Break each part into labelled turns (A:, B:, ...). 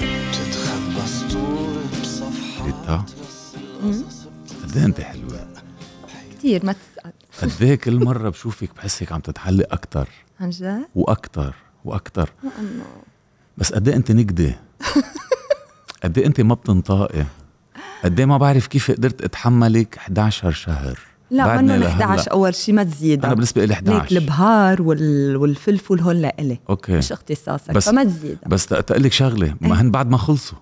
A: بتتخبى سطور بصفحة
B: إيه. قد إيه انت حلوه
C: كثير ما تسأل
B: قد إيه كل مره بشوفك بحس هيك عم تتحلق اكثر
C: عن جد؟
B: واكثر واكثر
C: لأنه
B: بس قد إيه انت نكده قد إيه انت ما بتنطاقي قد إيه ما بعرف كيف قدرت اتحملك 11 شهر
C: لا
B: بعدنا
C: منهم
B: لهلا.
C: 11 اول شيء ما تزيد
B: انا بالنسبه لي 11
C: ليك البهار وال... والفلفل هول لإلي
B: اوكي
C: مش اختصاصك
B: بس-
C: بس... فما تزيد إيه؟
B: بس تقول لك شغله ما هن بعد ما خلصوا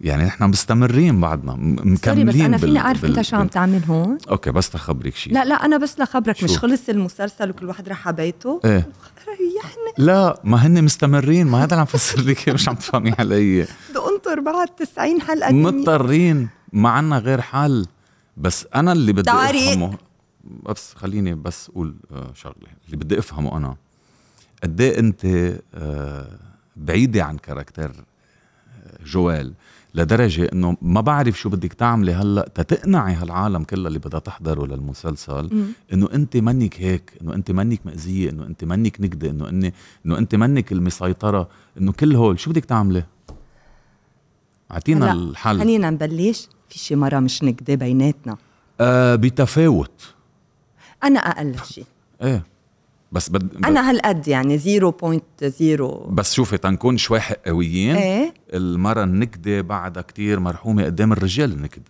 B: يعني نحن مستمرين بعدنا م- مكملين
C: سوري بس انا
B: بال-
C: فيني اعرف
B: بال-
C: انت شو عم
B: بال-
C: تعمل هون
B: اوكي بس تخبرك شيء
C: لا لا انا بس لخبرك
B: شو؟
C: مش خلص المسلسل وكل واحد راح على بيته
B: ايه
C: ريحني
B: لا ما هن مستمرين ما هذا اللي عم فسر لك مش عم تفهمي علي
C: بدي انطر بعد 90 حلقه تانية.
B: مضطرين ما عنا غير حل بس انا اللي بدي
C: طارق.
B: افهمه بس خليني بس اقول آه، شغله اللي بدي افهمه انا قد ايه انت آه، بعيده عن كاركتر آه، جوال لدرجه انه ما بعرف شو بدك تعملي هلا تتقنعي هالعالم كلها اللي بدها تحضره للمسلسل
C: مم.
B: انه انت منك هيك انه انت منك مأذيه انه انت منك نكده انه اني انه انت منك المسيطره انه كل هول شو بدك تعملي اعطينا
C: هلأ يعني
B: الحل
C: خلينا نبلش في شي مره مش نكدة بيناتنا
B: آه بتفاوت
C: انا اقل شيء
B: ايه بس بد... بس-
C: انا هالقد يعني 0.0
B: بس شوفي تنكون شوي حقويين
C: ايه
B: المرة النكدة بعدها كتير مرحومة قدام الرجال النكد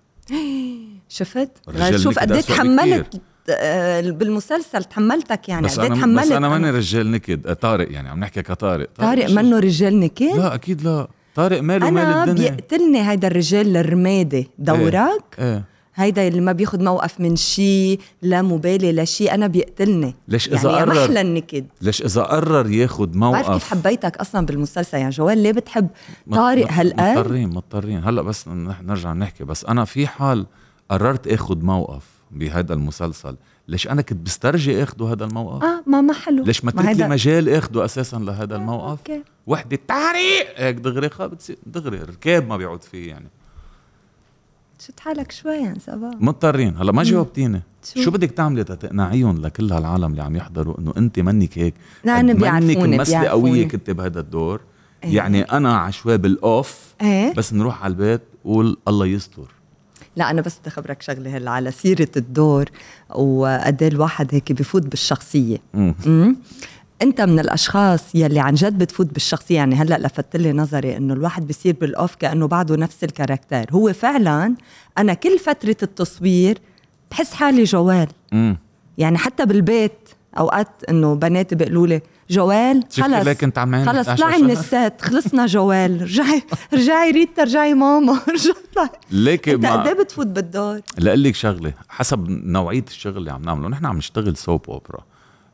C: شفت؟
B: الرجال
C: شوف
B: نكد
C: قد ايه
B: أسوأ
C: تحملت آه، بالمسلسل تحملتك يعني
B: بس
C: قد ايه
B: أنا
C: تحملت
B: بس أنا ماني رجال نكد آه، طارق يعني عم نحكي كطارق
C: طارق
B: رجال-
C: منه رجال نكد
B: لا أكيد لا طارق ماله مال
C: انا
B: الدنيا إيه،
C: بيقتلني هيدا الرجال الرمادي دورك
B: ايه
C: هيدا اللي ما بياخد موقف من شيء لا مبالي لا شيء انا بيقتلني
B: ليش إذا
C: يعني يا
B: قرر-
C: محلى النكد
B: ليش إذا قرر ياخد
C: بعرف كيف
B: موقف
C: حبيتك اصلا بالمسلسل يعني جوال ليه بتحب
B: مط-
C: طارق
B: مط-
C: هالقد
B: مضطرين مضطرين هلا بس نح- نرجع نحكي بس انا في حال قررت اخذ موقف بهذا المسلسل ليش انا كنت بسترجي اخذه هذا الموقف
C: اه ما ما حلو
B: ليش ما ترك
C: هيدا- آه،
B: لي مجال اخده اساسا لهذا الموقف
C: اوكي
B: وحده طارق هيك دغري خ- بتصير دغري ركاب ما بيعود فيه يعني
C: شفت حالك شوي يعني سبا
B: مضطرين هلا ما جاوبتيني
C: شو؟
B: شو بدك تعملي تقنعيهم لكل هالعالم اللي عم يحضروا انه انت منك هيك
C: لا، أنا
B: قد منك
C: بيعرفوني،
B: ممثله قويه
C: بيعرفوني.
B: كنت بهذا الدور
C: إيه.
B: يعني انا عشوائي بالاوف
C: ايه
B: بس نروح على البيت قول الله يستر
C: لا انا بس بدي اخبرك شغله هلا على سيره الدور وقد إيه الواحد هيك بفوت بالشخصيه
B: مم.
C: امم انت من الاشخاص يلي عن جد بتفوت بالشخصيه يعني هلا لفت لي نظري انه الواحد بيصير بالاوف كانه بعده نفس الكاركتير هو فعلا انا كل فتره التصوير بحس حالي جوال
B: امم
C: يعني حتى بالبيت اوقات انه بناتي بيقولوا لي جوال
B: شفتي
C: خلص
B: لكن كنت عم عينك
C: خلص
B: 11
C: طلعي من
B: شهر؟
C: السات خلصنا جوال رجعي رجعي ريتا رجعي ماما رجعي طلعي
B: ليك
C: انت قد
B: ما
C: ايه بتفوت بالدور؟
B: لأقول لك شغله حسب نوعيه الشغل اللي عم نعمله نحن عم نشتغل سوب اوبرا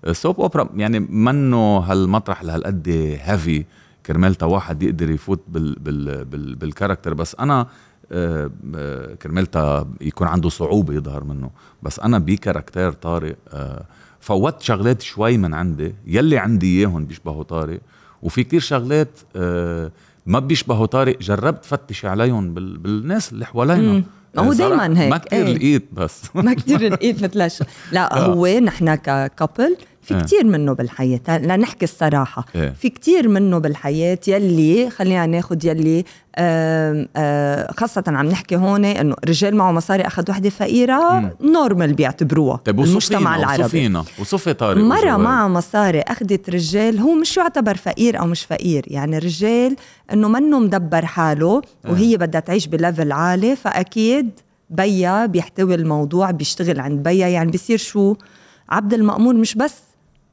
B: السوب اوبرا يعني منه هالمطرح لهالقد هيفي كرمال تا واحد يقدر يفوت بال بال بال بالكاركتر بس انا آه، آه، كرمال تا يكون عنده صعوبه يظهر منه بس انا بكاركتر طارق آه، فوت شغلات شوي من عندي يلي عندي اياهم بيشبهوا طارق وفي كتير شغلات آه، ما بيشبهوا طارق جربت فتش عليهم بال- بالناس اللي حوالينا
C: مم. هو
B: صراحة
C: دايماً هيك،
B: آه. ما كتير
C: إيه.
B: لقيت بس
C: ما كتير نقيت مثل هالش- لا
B: آه.
C: هو نحن ككابل
B: آه.
C: في كتير منه بالحياة لنحكي الصراحة
B: إيه.
C: في كتير منه بالحياة يلي خلينا ناخد يلي آم، آه، خاصة عم نحكي هون انه رجال معه مصاري اخذ وحدة فقيرة نورمال بيعتبروها
B: طيب
C: المجتمع العربي
B: وصفينا وصفي طارق
C: مرة
B: وجوال.
C: معها مصاري أخدت رجال هو مش يعتبر فقير أو مش فقير يعني رجال إنه منه مدبر حاله وهي بدها تعيش بليفل عالي فأكيد بيا بيحتوي الموضوع بيشتغل عند بيا يعني بيصير شو عبد المأمور مش بس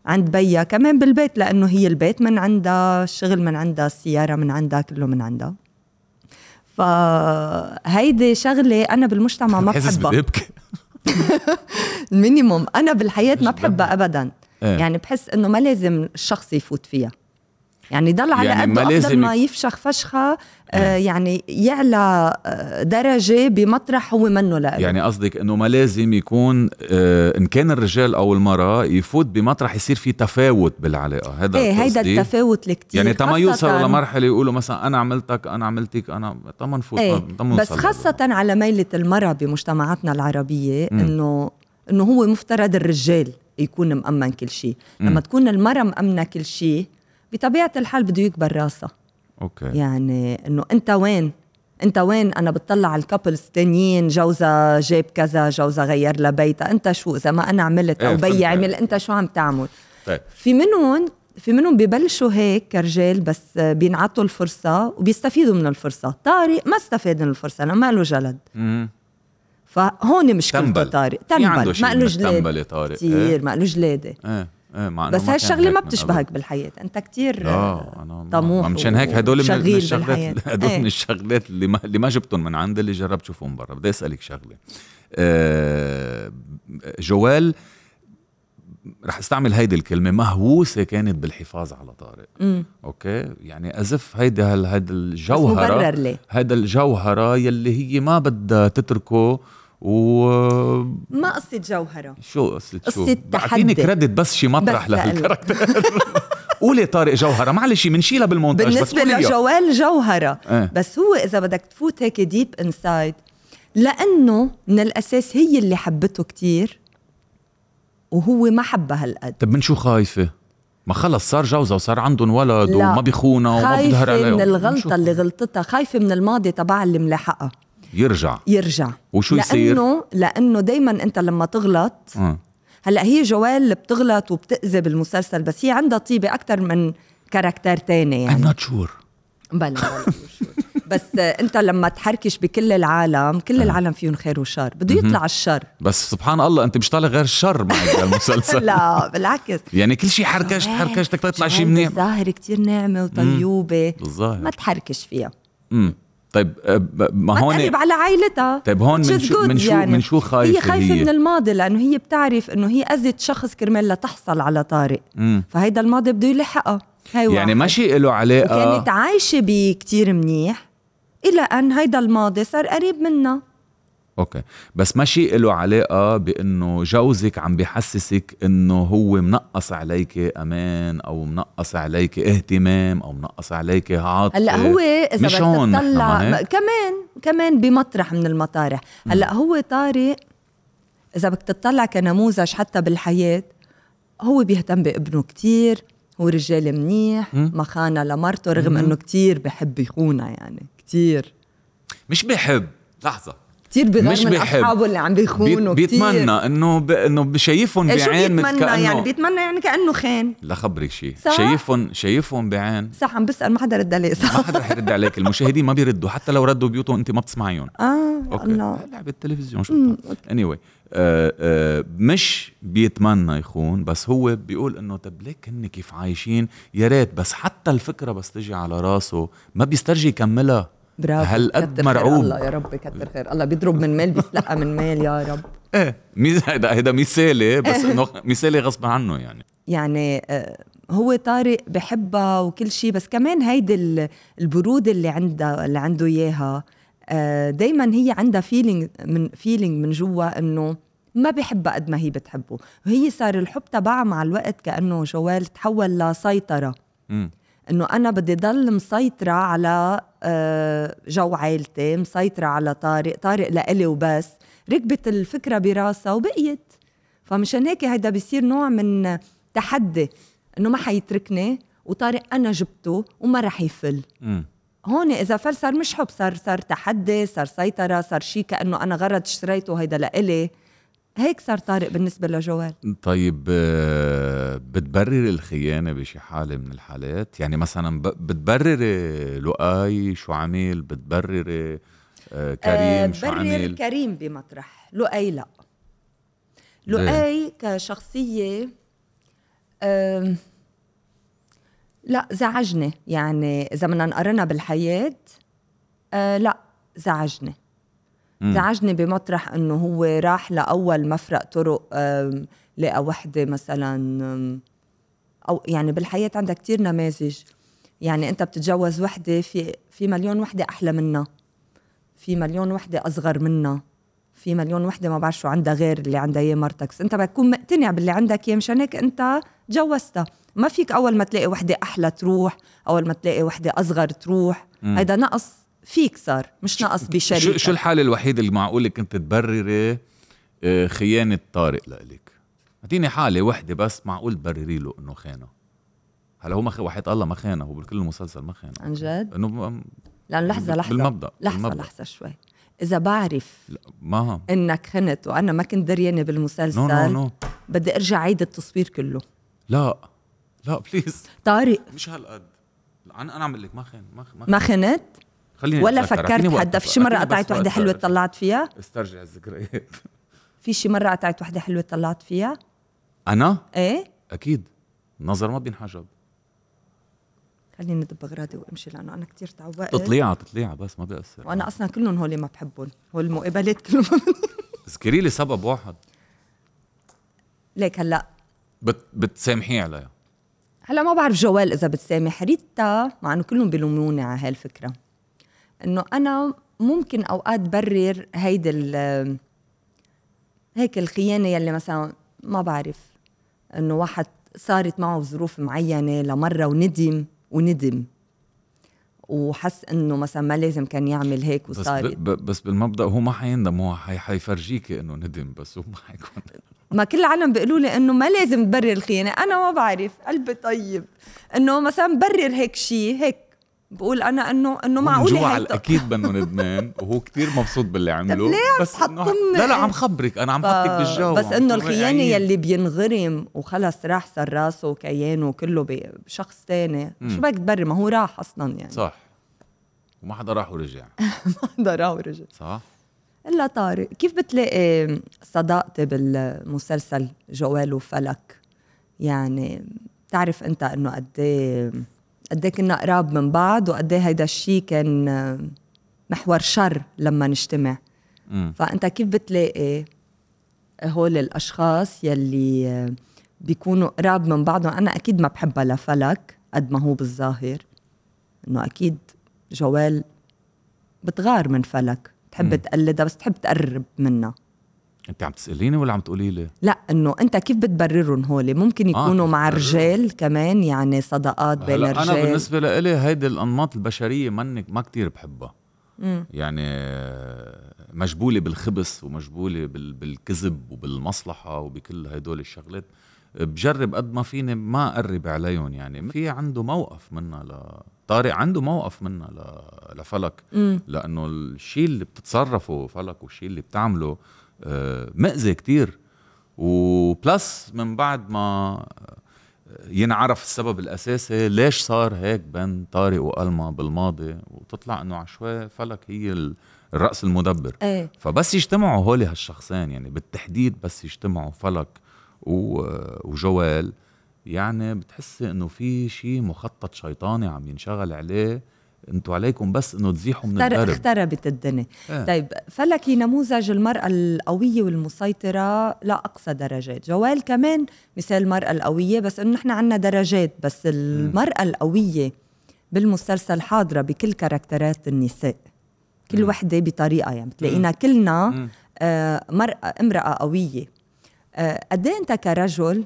C: عند بيا كمان بالبيت لأنه هي البيت من عندها الشغل من عندها السيارة من عندها كله من عندها فهيدي شغلة أنا بالمجتمع ما
B: حاسس
C: بحبها
B: بدي ابكي
C: المينيموم انا بالحياه يعني ما بحبها ابدا
B: إيه.
C: يعني بحس انه ما لازم الشخص يفوت فيها يعني ضل على
B: يعني
C: يعني
B: ما
C: قده أفضل
B: لازم
C: ما
B: يك- إيه.
C: يفشخ فشخة آه يعني يعلى آه، درجة بمطرح هو منه لإله
B: يعني قصدك انه ما لازم يكون آه ان كان الرجال او المراه يفوت بمطرح يصير في تفاوت بالعلاقه هذا
C: ايه هيدا
B: قصدي.
C: التفاوت الكتير
B: يعني تما
C: خاصة-
B: يوصلوا لمرحله يقولوا مثلا انا عملتك انا عملتك انا تما نفوت
C: ايه
B: تما
C: بس
B: نوصل
C: خاصة على ميلة المرأة بمجتمعاتنا العربية
B: مم.
C: انه انه هو مفترض الرجال يكون مأمن كل شيء،
B: مم.
C: لما تكون المرأة مأمنة كل شيء بطبيعة الحال بده يكبر راسها،
B: اوكي
C: يعني انه انت وين؟ انت وين انا بتطلع على الكابلز تانيين جوزها جاب كذا جوزها غير لها بيتها انت شو اذا ما انا عملت
B: إيه،
C: او
B: فهمت.
C: بي عمل انت شو عم تعمل
B: طيب
C: في منهم في منهم ببلشوا هيك كرجال بس بينعطوا الفرصة وبيستفيدوا من الفرصة طارق ما استفاد من الفرصة لأنه ما له جلد
B: مم.
C: فهون مشكلته
B: تنبل.
C: طارق
B: في عنده
C: تنبل
B: شيء
C: ما له
B: من
C: جلاد
B: التنبلة طارق إيه؟
C: كثير ما له جلادة
B: ايه ايه مع إنه
C: بس
B: ما
C: هاي
B: كان
C: الشغلة
B: هيك
C: ما
B: من قبل.
C: بتشبهك بالحياة أنت كتير
B: لا انا آه، ما-
C: طموح
B: ما مشان هيك هدول من, من
C: وشغيل بالحياة.
B: الشغلات هدول من
C: إيه.
B: الشغلات اللي ما اللي ما جبتهم من عندي اللي جربت شوفهم برا بدي اسالك شغله آه جوال رح استعمل هيدي الكلمه مهووسه كانت بالحفاظ على طارق
C: مم.
B: اوكي يعني ازف هيدي هال- هيدا
C: بس
B: الجوهره
C: مبرر ليه
B: هيدا الجوهره يلي هي ما بدها تتركه و
C: ما قصة جوهرة
B: شو قصة شو؟
C: قصة
B: بعطيني
C: تحدي.
B: كريدت بس شي مطرح
C: بس لإلك.
B: لهالكاركتر قولي طارق جوهرة معلش بنشيلها بالمونتاج بس
C: بالنسبة
B: قولي إياها.
C: لجوال جوهرة
B: إيه.
C: بس هو إذا بدك تفوت هيك ديب انسايد لأنه من الأساس هي اللي حبته كتير وهو ما حبها هالقد
B: طب طيب من شو خايفة؟ ما خلص صار جوزها وصار عندهم ولد
C: لا.
B: وما بيخونها وما بيظهر
C: خايفة
B: عليهم من
C: من
B: شو-
C: الغلطة اللي غلطتها خايفة من الماضي تبع اللي ملاحقها
B: يرجع
C: يرجع
B: وشو يصير؟
C: لأنه لأنه دايما أنت لما تغلط
B: آه.
C: هلا هي جوال اللي بتغلط وبتأذي بالمسلسل بس هي عندها طيبة أكثر من كاركتر تاني يعني
B: I'm not sure
C: بلا بلا بس آه، انت لما تحركش بكل العالم
B: آه.
C: كل العالم فيهم خير وشر بده يطلع الشر
B: بس سبحان الله انت مش طالع غير شر معك بالمسلسل
C: لا بالعكس
B: يعني كل شيء حركشت حركشتك تطلع شيء منيح
C: ظاهر كتير ناعمه وطيوبه ما
B: بالظاهر
C: تحركش فيها
B: أمم. طيب آه، ب- ما
C: ما
B: هون إيه؟
C: تقرب على عائلتها
B: طيب هون من
C: She's
B: شو
C: good
B: من شو
C: يعني.
B: من شو خايفة
C: هي خايفه من الماضي لانه هي بتعرف انه هي اذت شخص كرمال لتحصل على طارق
B: أمم.
C: فهيدا الماضي بده يلحقها هي
B: يعني
C: واحد.
B: ماشي له آه، علاقة
C: وكانت عايشه بيه كتير منيح الى ان هيدا الماضي صار قريب منها
B: اوكي بس ما شيء له علاقه بانه جوزك عم بحسسك انه هو منقص عليك امان او منقص عليك اهتمام او منقص عليك عاطفه
C: هلا هو اذا
B: إيه. مش هون إيه؟
C: بدك
B: نحن
C: تطلع
B: ما
C: م-
B: هيك
C: كمان كمان بمطرح من المطارح هلا هو طارق اذا بدك تطلع كنموذج حتى بالحياه هو بيهتم بابنه كتير هو رجال منيح
B: مم.
C: ما خانه لمرته رغم انه كتير بحب يخونها يعني كتير
B: مش بحب لحظه
C: كتير بغير
B: مش
C: من
B: بيحب.
C: اصحابه اللي عم بيخونوا
B: بيت- بيتمنى انه ب... انه بشايفهم
C: كتير إيه شو
B: بعين مثل
C: بيتمنى يعني
B: كانه
C: بيتمنى يعني كانه خان
B: لا خبرك شيء
C: صح؟
B: شايفهم شايفهم بعين
C: صح عم بسال ما حدا رد عليه
B: ما
C: صح
B: حدا رح يرد عليك المشاهدين ما بيردوا حتى لو ردوا بيوتهم انت ما بتسمعيهم
C: اه
B: اوكي
C: الله
B: لعبة التلفزيون شو اني anyway. آه آه مش بيتمنى يخون بس هو بيقول انه طب ليك هن كيف عايشين يا ريت بس حتى الفكره بس تجي على راسه ما بيسترجي يكملها
C: برافو
B: هالقد
C: كتر خير
B: مرعوب.
C: الله يا رب كتر خير الله بيضرب من مال بيسلقى من مال يا رب
B: ايه ميز- هيدا هيدا مثالي بس
C: إيه.
B: انه مثالي غصب عنه يعني
C: يعني آه، هو طارق بحبها وكل شيء بس كمان هيدي ال- البرودة اللي عندها اللي عنده اياها دائما هي عندها فيلينج من فيلينج من جوا انه ما بحبها قد ما هي بتحبه وهي صار الحب تبعها مع الوقت كانه جوال تحول لسيطره
B: مم.
C: انه انا بدي ضل مسيطره على آه، جو عائلتي مسيطره على طارق طارق لإلي وبس ركبت الفكره براسها وبقيت فمشان هيك هيدا بيصير نوع من تحدي انه ما حيتركني وطارق انا جبته وما رح يفل
B: مم.
C: هون اذا فل صار مش حب صار صار تحدي صار سيطره صار شيء كانه انا غرض اشتريته هيدا لإلي هيك صار طارق بالنسبه لجوال
B: طيب آه، بتبرر الخيانة بشي حالة من الحالات يعني مثلا ب- بتبرري لؤي شو عمل بتبرري آه، كريم شو
C: برر
B: عمل
C: كريم بمطرح لؤي لا
B: ليه؟
C: لؤي كشخصية أم، لا زعجني يعني إذا بدنا نقارنها بالحياة أه، لا زعجني
B: مم.
C: زعجني بمطرح انه هو راح لاول مفرق طرق أم، لقى وحده مثلا أم، او يعني بالحياه عندها كتير نماذج يعني انت بتتجوز وحده في في مليون وحده احلى منها في مليون وحده اصغر منها في مليون وحده ما بعرف شو عندها غير اللي عندها اياه مرتك بس انت بدك تكون مقتنع باللي عندك اياه مشان هيك انت تجوزتها ما فيك اول ما تلاقي وحده احلى تروح اول ما تلاقي وحده اصغر تروح
B: مم.
C: هيدا نقص فيك صار مش نقص بشريكك
B: شو شو الحاله الوحيده اللي معقول كنت تبرري آه، خيانه طارق لإلك اعطيني حاله وحده بس معقول تبرري له انه خانه هلا هو ما خ- وحياة الله ما خانه هو بكل المسلسل ما خانه
C: عن جد
B: انه ما-
C: لانه لحظه
B: بال-
C: لحظه
B: بالمبدأ،
C: لحظه
B: بالمبدأ.
C: لحظه شوي اذا بعرف
B: لا ما
C: انك خنت وانا ما كنت دريانه بالمسلسل
B: نو نو نو
C: بدي ارجع عيد التصوير كله
B: لا لا بليز
C: طارق
B: مش هالقد انا انا عم لك ما خان ما خ- ما خ-
C: ما خنت
B: خليني
C: ولا
B: أتذكر. أعطيني
C: فكرت
B: وقت
C: حدا
B: أتذكر.
C: في شي مره
B: أعطيني بس
C: قطعت
B: وقت
C: وحده حلوه
B: أتذكر.
C: طلعت فيها
B: استرجع الذكريات
C: في شي مره قطعت وحده حلوه طلعت فيها
B: انا
C: ايه
B: اكيد النظر ما بينحجب
C: إيه. خليني ادب اغراضي وامشي لانه انا كتير تعوقت
B: تطليعه تطليعه بس ما بيأثر
C: وانا اصلا كلهم هول ما بحبهم هول المقابلات كلهم
B: اذكري لي سبب واحد
C: ليك هلا
B: بت... بتسامحي عليها
C: هلا ما بعرف جوال اذا بتسامح ريتا مع انه كلهم بيلوموني على هالفكره انه انا ممكن اوقات برر هيدي ال- هيك الخيانه يلي مثلا ما بعرف انه واحد صارت معه ظروف معينه لمره وندم وندم وحس انه مثلا ما لازم كان يعمل هيك
B: بس ب...
C: وصارت
B: ب... بس بالمبدا هو ما حيندم هو حي... حيفرجيكي انه ندم بس هو ما حيكون
C: ما كل العالم بيقولوا لي انه ما لازم تبرر الخيانه انا ما بعرف قلبي طيب انه مثلا برر هيك شيء هيك بقول انا انه انه معقول
B: جوع
C: هي
B: على اكيد منه ندمان وهو كتير مبسوط باللي عمله
C: ليه عم
B: بس إنه-
C: تحطمنا؟
B: لا لا عم خبرك انا عم حطك بالجو
C: بس
B: عم
C: انه
B: تكون
C: الخيانه
B: واقعية.
C: يلي بينغرم وخلص راح صار راسه وكيانه وكله ب- بشخص تاني
B: مم.
C: شو بدك تبرر ما هو راح اصلا يعني
B: صح وما حدا راح ورجع
C: هذا راح ورجع
B: صح
C: الا طارق كيف بتلاقي صداقتي بالمسلسل جوال وفلك يعني تعرف انت انه قد ايه قد إيه كنا قراب من بعض وقد ايه هيدا الشيء كان محور شر لما نجتمع
B: امم
C: فانت كيف بتلاقي هول الاشخاص يلي بيكونوا قراب من بعضهم انا اكيد ما بحبها لفلك قد ما هو بالظاهر انه اكيد جوال بتغار من فلك
B: مم.
C: تحب تقلدها بس تحب تقرب منها
B: انت عم تساليني ولا عم تقولي لي
C: لا انه انت كيف بتبررهم هول ممكن يكونوا
B: كيف
C: مع
B: آه، بتبررهم؟
C: الرجال كمان يعني صداقات بين
B: هلا انا
C: الرجال
B: بالنسبه لإلي هيدي الانماط البشريه منك ما كتير بحبها
C: مم.
B: يعني آه، مجبوله بالخبث ومجبوله بال- بالكذب وبالمصلحه وبكل هدول الشغلات بجرب قد ما فيني ما اقرب عليهم يعني في عنده موقف منا ل طارق عنده موقف منا ل... لفلك
C: مم.
B: لانه الشيء اللي بتتصرفه فلك والشيء اللي بتعمله آه، مأذي كتير وبلس من بعد ما ينعرف السبب الاساسي ليش صار هيك بين طارق والما بالماضي وتطلع انه عشوائي فلك هي ال- الراس المدبر
C: ايه
B: فبس يجتمعوا هولي هالشخصين يعني بالتحديد بس يجتمعوا فلك و- وجوال يعني بتحسي انه في شيء مخطط شيطاني عم ينشغل عليه انتوا عليكم بس انه تزيحوا من
C: اختر-
B: الدرب
C: اختربت الدنيا
B: إيه.
C: طيب فلك هي نموذج المرأة القوية والمسيطرة لأقصى درجات جوال كمان مثال المرأة القوية بس إنه نحن عنا درجات بس المرأة القوية بالمسلسل حاضرة بكل كاركترات النساء كل
B: مم.
C: وحدة بطريقة يعني بتلاقينا كلنا
B: مم.
C: آه، مرأة امرأة قوية آه، قد إيه أنت كرجل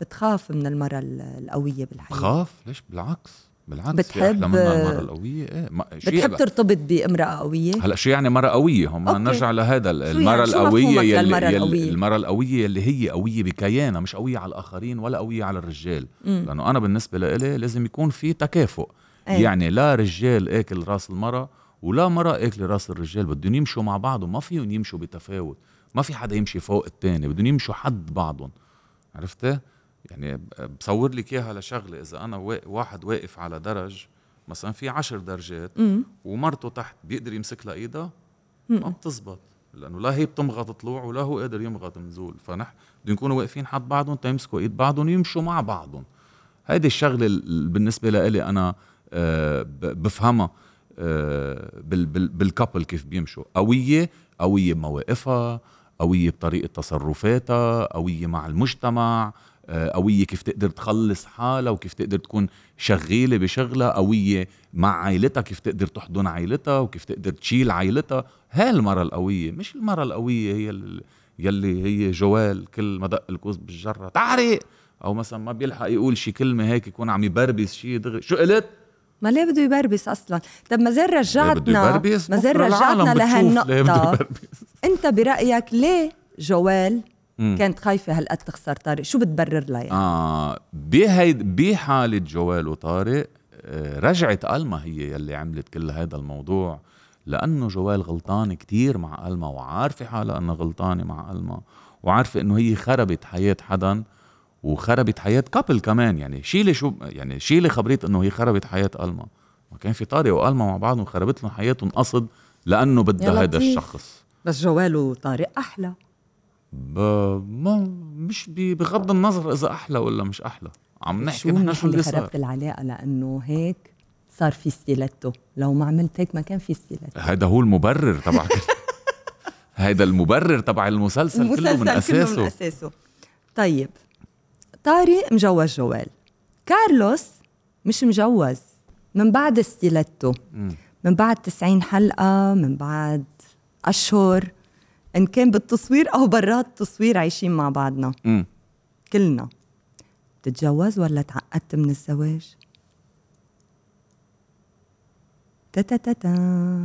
C: بتخاف من المرأة ال- القوية بالحياة
B: بخاف ليش بالعكس بالعكس في
C: بتحب-
B: احلى منها المره القويه ايه ما شيء
C: بتحب
B: بقى.
C: ترتبط بامرأة قوية
B: هلا شو يعني مرة قوية؟ هم
C: أوكي.
B: نرجع لهذا ال-
C: يعني؟
B: المرة
C: شو
B: القوية
C: مفهومك
B: يلي
C: للمرة
B: يلي-
C: القوية؟
B: المرة القوية اللي هي قوية بكيانها مش قوية على الآخرين ولا قوية على الرجال،
C: مم.
B: لأنه أنا بالنسبة لإلي لازم يكون في تكافؤ،
C: إيه.
B: يعني لا رجال آكل راس المرة ولا مرة آكل راس الرجال، بدهم يمشوا مع بعضهم، ما فيهم يمشوا بتفاوت، ما في حدا يمشي فوق التاني، بدهم يمشوا حد بعضهم، عرفتي؟ يعني ب- بصور لك إياها لشغلة إذا أنا وا- واحد واقف على درج مثلا في عشر درجات
C: مم.
B: ومرته تحت بيقدر يمسك لها ايدها ما
C: مم.
B: بتزبط لانه لا هي بتمغط طلوع ولا هو قادر يمغط نزول فنحن بدهم يكونوا واقفين حد بعضهم تيمسكوا ايد بعضهم ويمشوا مع بعضهم هيدي الشغله ال- بالنسبه لإلي انا آه، ب- بفهمها آه، بال- بال- بالكابل كيف بيمشوا قويه قويه بمواقفها قويه بطريقه تصرفاتها قويه مع المجتمع آه، قويه كيف تقدر تخلص حالها وكيف تقدر تكون شغاله بشغلها قويه مع عائلتها كيف تقدر تحضن عائلتها وكيف تقدر تشيل عائلتها هاي المره القويه مش المره القويه هي ال- يلي هي جوال كل ما دق الكوز بالجره تعرق او مثلا ما بيلحق يقول شي كلمه هيك يكون عم يبربس شي دغري شو قلت
C: ما ليه بده يبربس اصلا طب ما زال
B: بده
C: رجعتنا
B: يبربس
C: ما زال
B: بكرة العالم
C: رجعتنا
B: بتشوف ليه بده
C: لهالنقطه
B: يبربس.
C: انت برايك ليه جوال
B: مم.
C: كانت خايفه هالقد تخسر طارق شو بتبرر لها يعني؟
B: اه بهي بحاله جوال وطارق آه، رجعت ألما هي يلي عملت كل هذا الموضوع لانه جوال غلطانه كتير مع ألما وعارفه حالها انها غلطانه مع ألما وعارفه انه هي خربت حياه حدا وخربت حياه كابل كمان يعني شيلي شو يعني شيلي خبريه انه هي خربت حياه ألما وكان في طارق وألما مع بعض وخربت لهم حياتهم قصد لانه
C: يا
B: بدها هذا
C: لطيف.
B: الشخص
C: بس جوال وطارق احلى
B: ب... ما مش ب- بغض النظر اذا احلى ولا مش احلى عم نحكي نحن
C: نحن
B: شو اللي صار
C: خربت العلاقه لانه هيك صار في ستيلتو لو ما عملت هيك ما كان في ستيلتو
B: هيدا هو المبرر تبع كل- هيدا المبرر تبع المسلسل كله من
C: كله من
B: اساسه
C: اساسه طيب طارق مجوز جوال كارلوس مش مجوز من بعد ستيلتو من بعد 90 حلقه من بعد اشهر ان كان بالتصوير او برات التصوير عايشين مع بعضنا
B: مم.
C: كلنا تتجوز ولا تعقدت من الزواج؟ تا تا تا تا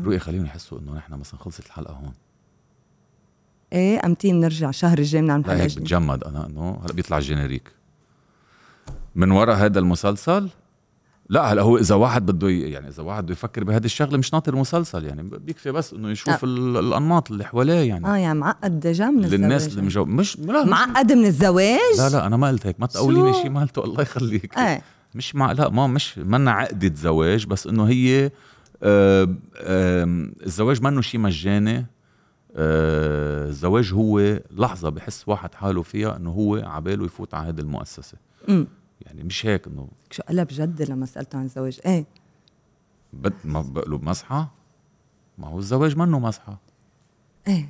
B: رؤيا خليهم يحسوا انه نحن مثلا خلصت الحلقه هون
C: ايه امتين نرجع شهر الجاي بنعمل
B: لا
C: حلقة
B: هيك
C: جديدة.
B: بتجمد انا انه هلا بيطلع الجينيريك من ورا هذا المسلسل لا هلا هو اذا واحد بده ي- يعني اذا واحد بده يفكر بهذه الشغله مش ناطر مسلسل يعني بيكفي بس انه يشوف
C: آه.
B: ال- الانماط اللي حواليه يعني
C: اه يعني معقد دجا من الزواج
B: للناس اللي مجو... مش لا مش
C: معقد من الزواج؟
B: لا لا انا ما قلت هيك ما تقولي لي
C: شو؟
B: شيء ما قلته الله يخليك
C: ايه
B: مش مع لا ما مش منا عقدة زواج بس انه هي آه آه الزواج منه شيء مجاني آه الزواج هو لحظة بحس واحد حاله فيها انه هو عباله يفوت على هذه المؤسسة
C: امم
B: يعني مش هيك انه
C: شو قلب جد لما سالته عن الزواج ايه
B: بد ما بقلب مسحة ما هو الزواج منه مسحة
C: ايه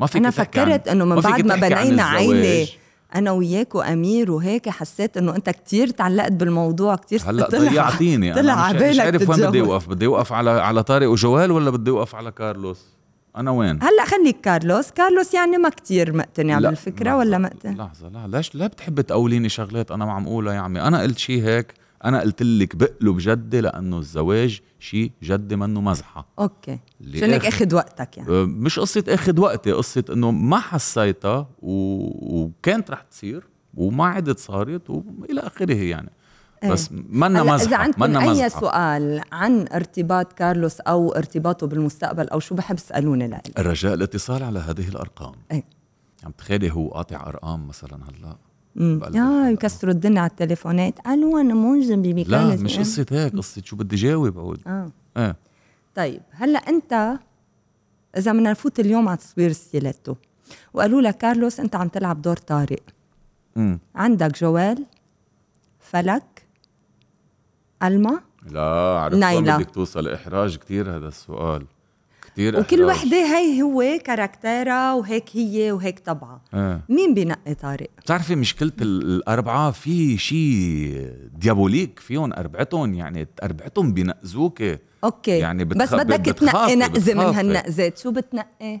B: ما فيك
C: انا
B: تحكي عن-
C: فكرت انه من
B: فيك
C: بعد ما
B: تحكي عن
C: بنينا
B: الزواج.
C: عيله انا وياك وامير وهيك حسيت انه انت كتير تعلقت بالموضوع كتير
B: هلا
C: طلع-
B: ضيعتيني
C: طلع
B: انا مش-
C: عبالك
B: مش عارف وين بدي
C: تتجوز.
B: اوقف بدي اوقف على على طارق وجوال ولا بدي اوقف على كارلوس انا وين
C: هلا خليك كارلوس كارلوس يعني ما كتير مقتنع
B: لا،
C: بالفكره
B: لحظة،
C: يعني ولا مقتنع
B: لحظه لا ليش لا بتحب تقوليني شغلات انا ما عم قولها يا عمي انا قلت شي هيك انا قلت لك بقلب جدي لانه الزواج شي جدي منه مزحه
C: اوكي
B: اللي
C: شانك
B: آخر-
C: اخذ وقتك يعني
B: أه، مش قصه اخد وقتي قصه انه ما حسيتها و... وكانت رح تصير وما عدت صارت والى اخره يعني
C: إيه.
B: بس منا
C: هلا اذا
B: مزحه
C: عندكم
B: منا
C: اي
B: مزحه
C: سؤال عن ارتباط كارلوس او ارتباطه بالمستقبل او شو بحب اسالوني لإلي
B: الرجاء الاتصال على هذه الارقام
C: إيه.
B: عم تخيلي هو قاطع ارقام مثلا هلا
C: أمم.
B: بقلب
C: اه
B: الحلقة.
C: يكسروا الدنيا على التليفونات الو انا موجب
B: لا
C: بمكان
B: مش
C: زمان.
B: قصه هيك قصه شو بدي جاوب عود
C: اه
B: ايه
C: طيب هلا انت اذا بدنا نفوت اليوم على تصوير ستيلاتو وقالوا لك كارلوس انت عم تلعب دور طارق
B: مم.
C: عندك جوال فلك الما
B: لا عرفت وين
C: نايلة.
B: بدك توصل احراج كتير هذا السؤال كتير
C: وكل
B: إحراج.
C: وحده هي هو كاركتيرها وهيك هي وهيك طبعها
B: ايه
C: مين بينقي طارق
B: بتعرفي مشكلة ال- الأربعة في شيء ديابوليك فيهم أربعتهم يعني أربعتهم بينقزوك
C: اوكي
B: يعني بتخ-
C: بس بدك
B: بتخافي-
C: تنقي نقزه من
B: بتخافي.
C: هالنقزات شو بتنقي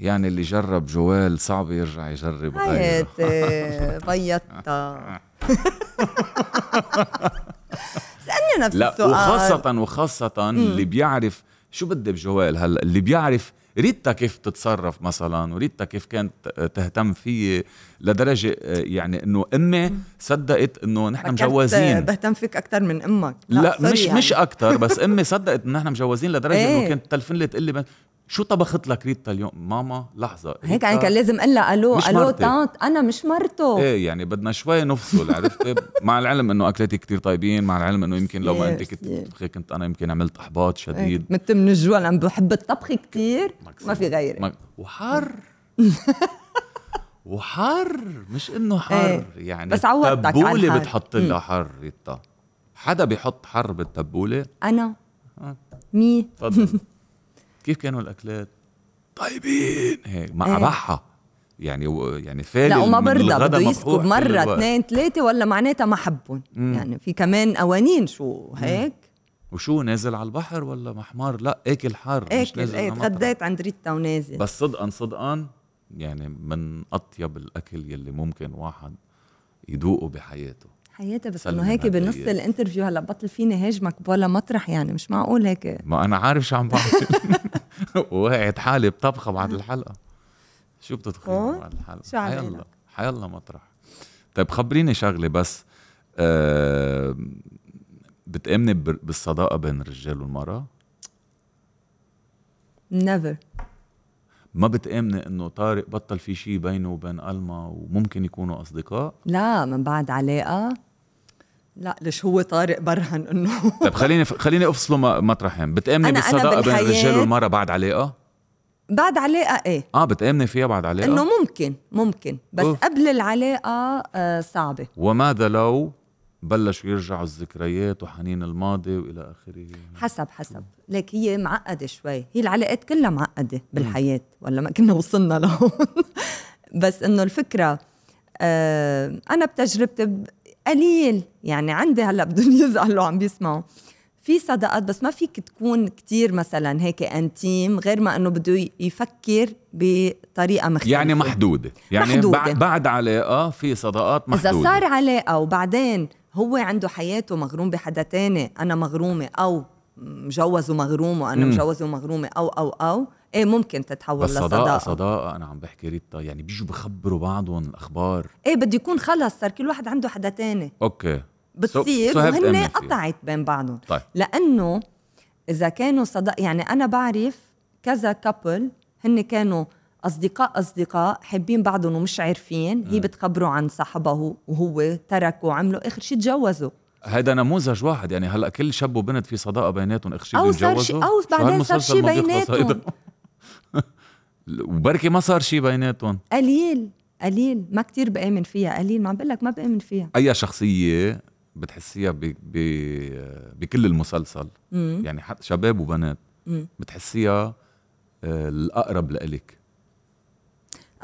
B: يعني اللي جرب جوال صعب يرجع يجرب غيره
C: حياتي بيضتها سألني نفس
B: لا
C: السؤال
B: وخاصة وخاصة اللي بيعرف شو بدي بجوال هلا اللي بيعرف ريتا كيف تتصرف مثلا وريتا كيف كانت تهتم فيي لدرجة آه، يعني انه امي صدقت انه نحن
C: فكرت
B: مجوزين
C: بهتم فيك اكثر من امك
B: لا,
C: سوري
B: مش
C: يعني.
B: مش اكثر بس امي صدقت ان احنا مجوزين لدرجه
C: إيه.
B: انه كانت تلفن لي تقول لي بس شو طبخت لك ريتا اليوم ماما لحظه
C: هيك
B: ريتا-
C: انا كان لازم اقول لها الو
B: مش
C: الو
B: مرتي.
C: تانت انا مش مرته
B: ايه يعني بدنا شوي نفصل عرفتي مع العلم انه اكلاتي كتير طيبين مع العلم انه يمكن لو ما انت
C: كتير،
B: كنت
C: كتير.
B: تطبخي كنت انا يمكن عملت احباط
C: إيه،
B: شديد
C: مت من الجوع لأن بحب الطبخ كثير
B: مكسور.
C: ما في غيري
B: ما- وحر وحر مش انه حر يعني
C: إيه. بس عودتك على
B: التبوله
C: الحر.
B: بتحط لها حر ريتا حدا بيحط حر بالتبوله
C: انا
B: آه.
C: مي
B: تفضل كيف كانوا الاكلات طيبين هيك مع
C: إيه.
B: بحة يعني و- يعني فالي
C: لا وما
B: من
C: برضى
B: الغدا
C: بده
B: مفحوح
C: يسكب
B: كل
C: مره
B: الوقت.
C: اثنين ثلاثه ولا معناتها ما حبهم
B: مم.
C: يعني في كمان قوانين شو هيك
B: وشو نازل على البحر ولا محمار لا اكل حار مش
C: اكل
B: نازل
C: ايه
B: على مطعم.
C: تغديت عند ريتا ونازل
B: بس صدقا صدقا يعني من اطيب الاكل يلي ممكن واحد يذوقه بحياته
C: حياتي بس
B: سلم
C: انه هيك بنص
B: هدية.
C: الانترفيو هلا بطل فيني هاجمك ولا مطرح يعني مش معقول هيك
B: ما انا عارف شو عم بعمل وقعت حالي بطبخه بعد الحلقه شو بتطبخي
C: هون؟
B: بعد الحلقه
C: شو عم
B: حيالله
C: بالك؟
B: حيالله مطرح طيب خبريني شغله بس آه بتامني بر- بالصداقه بين الرجال والمراه
C: نيفر
B: ما بتامني انه طارق بطل في شيء بينه وبين الما وممكن يكونوا اصدقاء
C: لا من بعد علاقه لا ليش هو طارق برهن انه
B: طيب خليني خليني افصله م- مطرحين بتامني
C: أنا- أنا
B: بالصداقه بين
C: بالحياة-
B: الرجال والمراه بعد علاقه
C: بعد علاقه ايه
B: اه بتامني فيها بعد علاقه
C: انه ممكن ممكن بس
B: أوف.
C: أوف. قبل العلاقه آه صعبه
B: وماذا لو بلشوا يرجعوا الذكريات وحنين الماضي والى اخره
C: حسب حسب لك هي معقده شوي هي العلاقات كلها معقده بالحياه ولا ما كنا وصلنا لهون بس انه الفكره آه انا بتجربتي ب- قليل يعني عندي هلا بدهم يزعلوا عم بيسمعوا في صداقات بس ما فيك تكون كتير مثلا هيك انتيم غير ما انه بده ي- يفكر بطريقه مختلفه
B: يعني محدوده يعني
C: محدودة.
B: بع- بعد علاقه في صداقات محدوده
C: إذا صار علاقة وبعدين هو عنده حياته مغروم بحدا تاني أنا مغرومة أو مجوز ومغروم وأنا
B: مم.
C: مجوز ومغرومة أو أو أو إيه ممكن تتحول
B: بس صداقه
C: لصداقة صداقة.
B: صداقه انا عم بحكي ريتا يعني بيجوا بخبروا بعضهم الاخبار
C: إيه بده يكون خلص صار كل واحد عنده حدا تاني
B: اوكي
C: بتصير
B: so هي
C: وهن
B: بتأمن فيها.
C: قطعت بين بعضهم
B: طيب
C: لأنه إذا كانوا صداقة يعني أنا بعرف كذا كابل هن كانوا أصدقاء أصدقاء حابين بعضهم ومش عارفين هي بتخبره عن صاحبه وهو تركه وعملوا آخر شي تجوزوا
B: هذا نموذج واحد يعني هلا كل شاب وبنت في صداقه بيناتهم اخ شي
C: أو صار
B: بيتجوزوا.
C: شي- أو
B: شو
C: بعدين صار
B: هالمسلسل
C: شي
B: ما بيخلص هيدا؟
C: بيناتهم.
B: وبركي ما صار شي بيناتهم
C: قليل قليل ما كتير بآمن فيها قليل ما عم بقول لك ما بآمن فيها
B: اي شخصيه بتحسيها ب... ب... بكل المسلسل
C: مم.
B: يعني حتى شباب وبنات
C: مم.
B: بتحسيها آه، الاقرب لإلك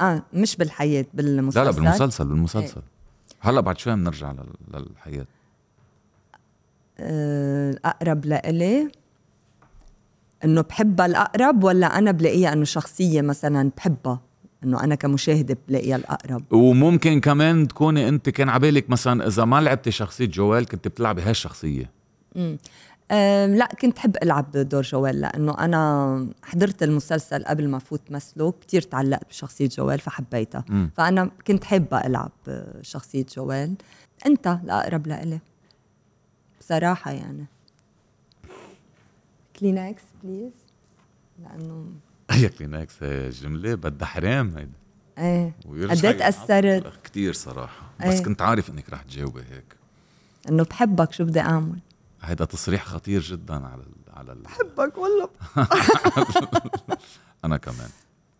C: اه مش بالحياة
B: لا
C: بالمسلسل
B: لا بالمسلسل بالمسلسل
C: إيه.
B: هلا بعد شوي بنرجع لل- للحياه
C: آه الأقرب لإلي إنه بحبها الأقرب ولا أنا بلاقيها إنه شخصية مثلا بحبها إنه أنا كمشاهدة بلاقيها الأقرب
B: وممكن كمان تكوني انت كان عبالك مثلا اذا ما لعبتي شخصيه جوال كنت بتلعبي هالشخصيه
C: آه لا كنت حب ألعب دور جوال لأنه أنا حضرت المسلسل قبل ما فوت مثله كتير تعلقت بشخصية جوال فحبيتها
B: مم.
C: فأنا كنت حابة ألعب آه، شخصية جوال أنت الأقرب لإلي بصراحة يعني كلينكس بليز لأنه
B: هي كلينكس هي جمله بدها حرام هيدا
C: إيه
B: ويرجع
C: قد إيه
B: ينعاد.
C: تأثرت
B: كتير صراحه بس
C: إيه.
B: كنت عارف انك رح تجاوبي هيك
C: إنه بحبك شو بدي أعمل
B: هيدا تصريح خطير جدا على ال- على ال-
C: بحبك والله
B: انا كمان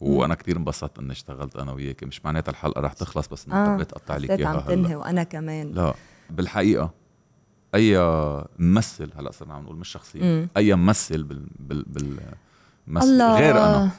B: وانا كتير انبسطت اني اشتغلت انا وياك مش معناتها الحلقه رح تخلص بس اني
C: آه،
B: حبيت اقطع لك
C: حسيت عم
B: اياها هلا
C: تنهي وأنا كمان
B: لا بالحقيقه اي ممثل هلا صرنا عم نقول مش شخصيه
C: مم.
B: اي ممثل بال بال, بال ممثل
C: الله
B: غير انا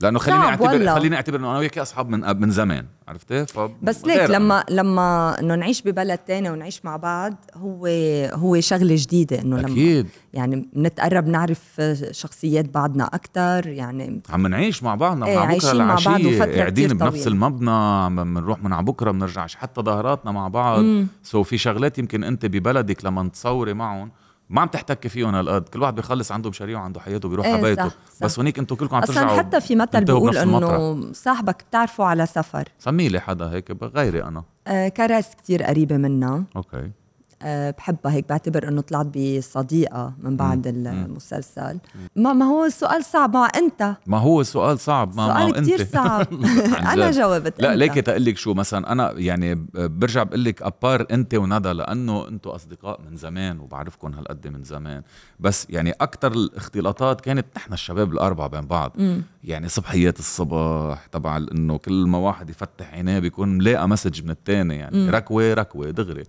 B: لانه خليني
C: صعب
B: اعتبر
C: والله.
B: خليني اعتبر انه انا وياك اصحاب من من زمان عرفتي فب-
C: بس
B: غير
C: ليك
B: أنا.
C: لما لما انه نعيش ببلد تاني ونعيش مع بعض هو هو شغله جديده انه لما
B: اكيد
C: يعني بنتقرب نعرف شخصيات بعضنا اكثر يعني
B: عم نعيش مع بعضنا
C: إيه،
B: مع بكره
C: عايشين مع بعض
B: العشيه
C: وفترة
B: قاعدين
C: كتير
B: بنفس
C: طويلة.
B: المبنى عم بنروح من على بكره بنرجع حتى ظهراتنا مع بعض
C: مم.
B: سو في شغلات يمكن انت ببلدك لما تصوري معهم ما عم تحتكي فيهم هالقد كل واحد بيخلص عنده مشاريعه وعنده حياته بيروح
C: إيه،
B: على بيته
C: صح، صح.
B: بس هونيك انتم كلكم عم
C: اصلا
B: ترجعوا
C: حتى في مثل
B: بتنتهوا
C: بيقول
B: بنفس المطرح.
C: انه صاحبك بتعرفه على سفر
B: سمي لي حدا هيك ب- غيري انا
C: آه كراس كتير قريبه منا
B: اوكي
C: آه بحبها هيك بعتبر انه طلعت بصديقه من بعد
B: مم.
C: المسلسل ما ما هو السؤال صعب ما انت
B: ما هو السؤال صعب ما ما
C: سؤال
B: انت
C: كتير صعب
B: عن
C: انا
B: جد.
C: جاوبت
B: لا
C: أنت.
B: ليكي تقول لك شو مثلا انا يعني ب- برجع بقول لك ابار انت وندى لانه انتم اصدقاء من زمان وبعرفكم هالقد من زمان بس يعني اكثر الاختلاطات كانت نحن الشباب الاربعه بين بعض
C: مم.
B: يعني صبحيات الصبح تبع انه كل ما واحد يفتح عينيه بيكون ملاقى مسج من الثاني يعني
C: مم.
B: ركوه ركوه دغري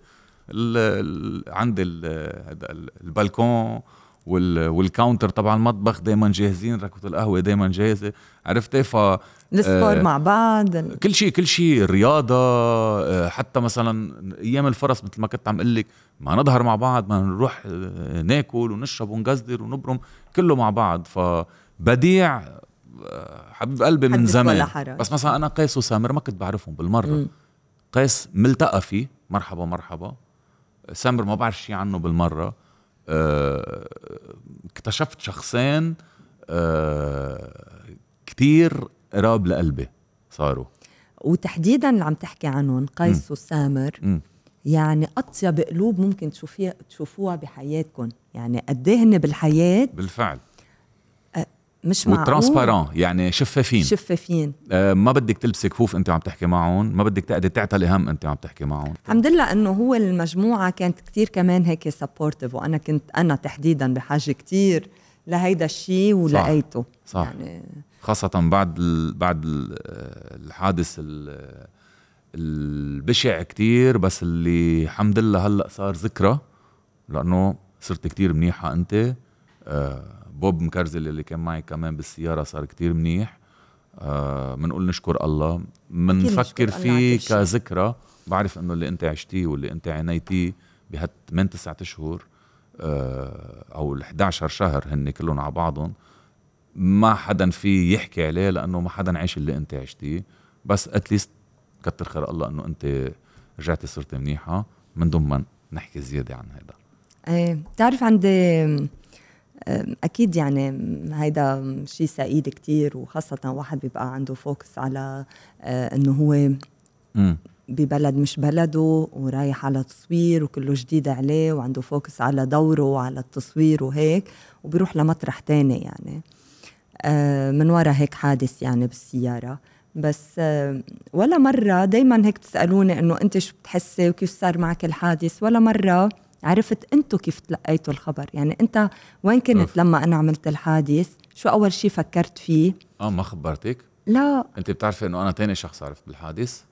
B: ال- ال- عندي ال- هذا ال- البلكون وال والكاونتر تبع المطبخ دائما جاهزين ركبه القهوه دائما جاهزه عرفتي ف آه،
C: السبور مع بعض ال-
B: كل شيء كل شيء الرياضه آه، حتى مثلا ايام الفرص مثل ما كنت عم اقول لك ما نظهر مع بعض ما نروح آه، ناكل ونشرب ونقزدر ونبرم كله مع بعض فبديع آه، حبيب قلبي من
C: حدث ولا
B: زمان
C: حرج.
B: بس مثلا انا قيس وسامر ما كنت بعرفهم بالمره
C: مم.
B: قيس ملتقى فيه مرحبا مرحبا سامر ما بعرف شيء عنه بالمره آه، اكتشفت شخصين آه، كتير قراب لقلبي صاروا
C: وتحديدا اللي عم تحكي عنهم قيس وسامر
B: مم.
C: يعني اطيب قلوب ممكن تشوفيها تشوفوها بحياتكم يعني قد إيه هن بالحياه
B: بالفعل
C: مش معقول
B: وترانسبارون يعني شفافين شف...
C: شفافين
B: آه ما بدك تلبسي كفوف انت عم تحكي معهم ما بدك تقعدي تعتلي هم انت عم تحكي معهم
C: الحمد لله انه هو المجموعه كانت كتير كمان هيك سبورتيف وانا كنت انا تحديدا بحاجه كتير لهيدا الشيء ولقيته
B: صح.
C: يعني
B: خاصة بعد ال... بعد ال... آه، الحادث ال... آه، البشع كتير بس اللي الحمد لله هلا صار ذكرى لانه صرت كتير منيحة انت آه بوب مكرزل اللي كان معي كمان بالسيارة صار كتير منيح آه منقول نشكر الله
C: نشكر
B: منفكر
C: الله على
B: فيه
C: كل شي.
B: كذكرى بعرف انه اللي انت عشتيه واللي انت عانيتيه بهال 8 9 اشهر آه او ال 11 شهر هن كلهم على بعضهم ما حدا فيه يحكي عليه لانه ما حدا عاش اللي انت عشتيه بس اتليست كتر خير الله انه انت رجعتي صرتي منيحه من دون ما نحكي زياده عن هذا
C: ايه بتعرف عندي أم، اكيد يعني هيدا شيء سعيد كتير وخاصه واحد بيبقى عنده فوكس على آه، انه هو
B: امم
C: ببلد مش بلده ورايح على تصوير وكله جديد عليه وعنده فوكس على دوره وعلى التصوير وهيك وبيروح لمطرح تاني يعني آه، من ورا هيك حادث يعني بالسيارة بس آه، ولا مرة دايما هيك بتسألوني انه انت شو بتحسي وكيف صار معك الحادث ولا مرة عرفت انتو كيف تلقيتوا الخبر يعني انت وين كنت
B: أوف.
C: لما انا عملت الحادث شو اول شي فكرت فيه
B: اه ما خبرتك
C: لا
B: انت بتعرفي انه انا تاني شخص عرفت بالحادث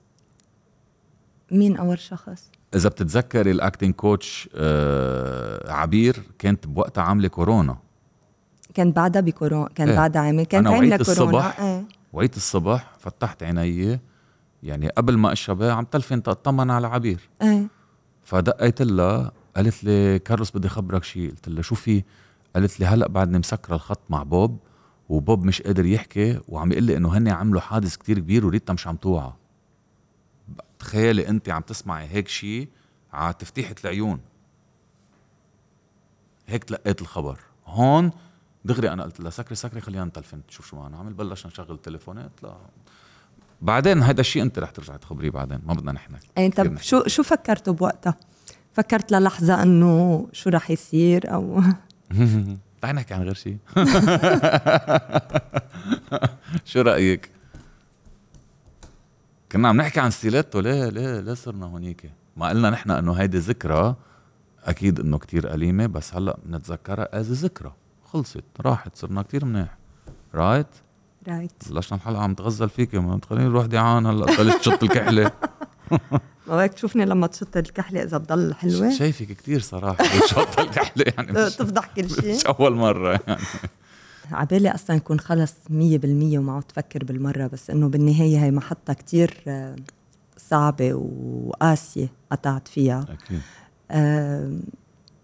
C: مين اول شخص
B: اذا بتتذكري الاكتنج كوتش آه عبير كانت بوقتها عامله كورونا
C: كان بعدها بكورونا كان
B: إيه.
C: بعدها عامل كان
B: أنا
C: عين
B: وعيت
C: لكورونا
B: الصبح.
C: ايه
B: وعيت الصبح فتحت عيني يعني قبل ما اشربها عم تلفن تطمن على عبير
C: ايه
B: فدقيت لها قالت لي كارلوس بدي خبرك شيء قلت لها شو في قالت لي هلا بعدني مسكره الخط مع بوب وبوب مش قادر يحكي وعم يقول لي انه هن عملوا حادث كتير كبير وريتا مش عم توعى تخيلي انت عم تسمعي هيك شيء على تفتيحة العيون هيك تلقيت الخبر هون دغري انا قلت لها سكري سكري خلينا نتلفن شوف شو عم نعمل بلشنا نشغل تليفونات لا بعدين هذا الشيء انت رح ترجع تخبريه بعدين ما بدنا نحن
C: ايه طب
B: كتير
C: شو شو فكرتوا بوقتها؟ فكرت للحظة انه شو رح يصير او
B: تعال نحكي عن طيب، غير شيء شو رايك؟ كنا عم نحكي عن ستيلاتو ليه ليه ليه صرنا هونيك؟ ما قلنا نحن انه هيدي ذكرى اكيد انه كتير اليمه بس هلا بنتذكرها از ذكرى خلصت راحت صرنا كتير منيح رايت
C: رايت
B: بلشنا الحلقه عم تغزل فيك ما تخليني اروح دعان هلا بلشت تشط الكحله
C: ما بدك تشوفني لما تشط الكحلة اذا بضل حلوة أه،
B: شايفك كتير صراحه بتشط الكحله يعني مش,
C: تفضح كل شيء
B: مش اول مره يعني
C: عبالي اصلا يكون خلص 100% وما عم تفكر بالمرة بس انه بالنهاية هي محطة كتير آه، صعبة وقاسية قطعت فيها
B: اكيد
C: آم، آه،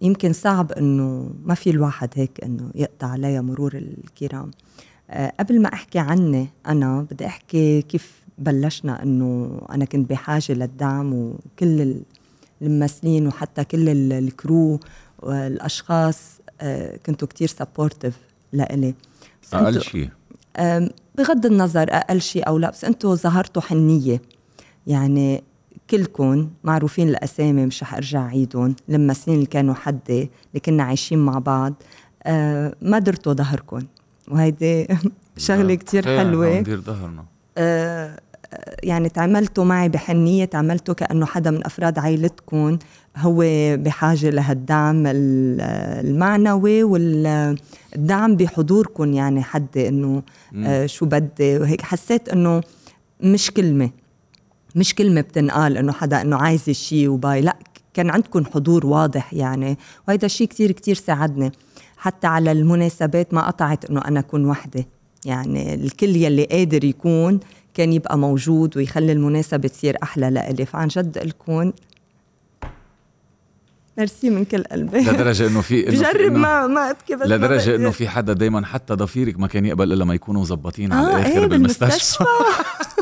C: يمكن صعب انه ما في الواحد هيك انه يقطع عليها مرور الكرام آه، قبل ما احكي عني انا بدي احكي كيف بلشنا انه انا كنت بحاجه للدعم وكل ال- الممثلين وحتى كل ال- الكرو والاشخاص آه، كنتوا كتير سبورتيف لإلي بس
B: اقل
C: أنتوا-
B: شيء
C: أم، بغض النظر اقل شيء او لا بس انتم ظهرتوا حنيه يعني كلكم معروفين الاسامي مش رح ارجع اعيدهم الممثلين اللي كانوا حدي اللي كنا عايشين مع بعض أه، ما درتوا ظهركم وهيدي شغله كتير
B: خير، عم
C: حلوه
B: ندير ظهرنا
C: أه، يعني تعاملتوا معي بحنية تعاملتوا كأنه حدا من أفراد عائلتكم هو بحاجة لهالدعم ال- المعنوي والدعم بحضوركم يعني حدي إنه آه، شو بدي وهيك حسيت إنه مش كلمة مش كلمة بتنقال إنه حدا إنه عايز شيء وباي لا كان عندكم حضور واضح يعني وهيدا الشيء كتير كتير ساعدني حتى على المناسبات ما قطعت انه انا اكون وحده يعني الكل يلي قادر يكون كان يبقى موجود ويخلي المناسبة تصير أحلى لإلي فعن جد الكون ميرسي من كل قلبي
B: لدرجه انه في إنه في-
C: بجرب
B: إنه-
C: ما ما أبكي بس ما
B: لدرجه
C: بقدر.
B: انه في حدا دائما حتى ضفيرك ما كان يقبل الا ما يكونوا مظبطين على
C: آه
B: الاخر
C: إيه
B: بالمستشفى
C: بالمستشفى